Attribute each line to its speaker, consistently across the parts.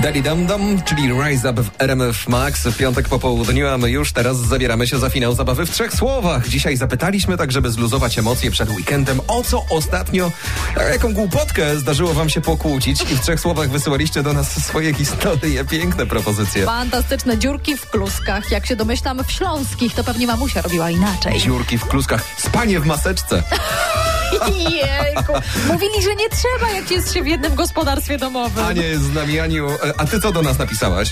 Speaker 1: Dali Dum Dum, czyli Rise Up w RMF Max. W piątek po południu, a my już teraz zabieramy się za finał zabawy w trzech słowach. Dzisiaj zapytaliśmy, tak żeby zluzować emocje przed weekendem, o co ostatnio, a jaką głupotkę zdarzyło wam się pokłócić i w trzech słowach wysyłaliście do nas swoje historie, piękne propozycje.
Speaker 2: Fantastyczne dziurki w kluskach. Jak się domyślam, w śląskich to pewnie mamusia robiła inaczej.
Speaker 1: Dziurki w kluskach, spanie w maseczce.
Speaker 2: Jejku. Mówili, że nie trzeba, jak jest się w jednym gospodarstwie domowym.
Speaker 1: Ania jest z nami, Aniu. E, A ty co do nas napisałaś?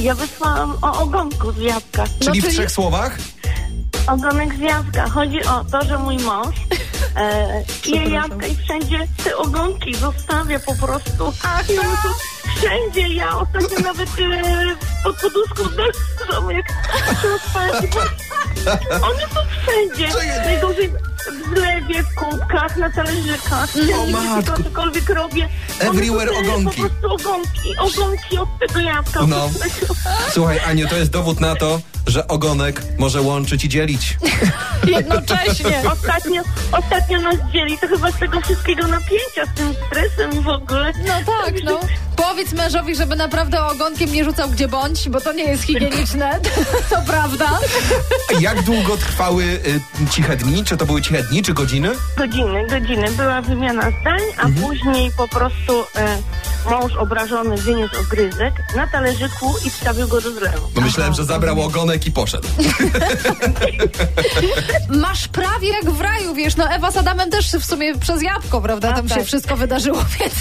Speaker 3: Ja wysłałam o ogonku z jabłka.
Speaker 1: Czyli w
Speaker 2: No czyli-
Speaker 1: trzech słowach?
Speaker 3: Ogonek z jabłka. Chodzi o to, że mój mąż e, je jabłka i wszędzie te ogonki zostawia po prostu. I on tu wszędzie ja ostatnio nawet e, pod poduszką dostałam jak rozpadł. One są wszędzie. Najgorzej w zlewie, w kubkach, na talerzykach. Ja
Speaker 1: O
Speaker 3: nigdy
Speaker 1: matko.
Speaker 3: tylko cokolwiek robię. One
Speaker 1: Everywhere
Speaker 3: są, e,
Speaker 1: ogonki.
Speaker 3: Po prostu ogonki, ogonki od tego jabłka.
Speaker 1: No.
Speaker 3: od tego.
Speaker 1: Słuchaj, Aniu, to jest dowód na to, że ogonek może łączyć i dzielić.
Speaker 2: Jednocześnie.
Speaker 3: Ostatnio, ostatnio nas dzieli, to chyba z tego wszystkiego napięcia, z tym stresem i w ogóle.
Speaker 2: No tak, no. Powiedz mężowi, żeby naprawdę ogonkiem nie rzucał gdzie bądź, bo to nie jest higieniczne. To prawda.
Speaker 1: Jak długo trwały y, ciche dni? Czy to były ciche dni, czy godziny?
Speaker 3: Godziny, godziny. Była wymiana zdań, a później po prostu e, mąż obrażony wyniósł ogryzek na talerzyku i wstawił go do zlewu.
Speaker 1: Bo myślałem, że zabrał ogonek i poszedł.
Speaker 2: Masz prawie jak w raju, wiesz, no Ewa z Adamem też w sumie przez jabłko, prawda,
Speaker 3: A,
Speaker 2: tam się
Speaker 3: tak.
Speaker 2: wszystko wydarzyło, więc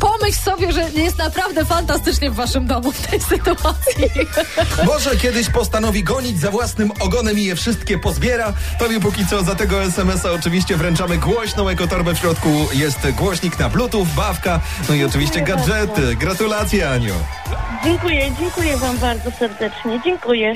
Speaker 2: pomyśl sobie, że jest naprawdę fantastycznie w waszym domu w tej sytuacji.
Speaker 1: Może kiedyś postanowi gonić za własnym ogonem i je wszystkie pozbiera. Tobie póki co za tego SMS-a oczywiście wręczamy głośną ekotorbę. W środku jest głośnik na bluetooth, bawka, no i oczywiście gadżety. Gratulacje, Aniu.
Speaker 3: Dziękuję, dziękuję Wam bardzo serdecznie. Dziękuję.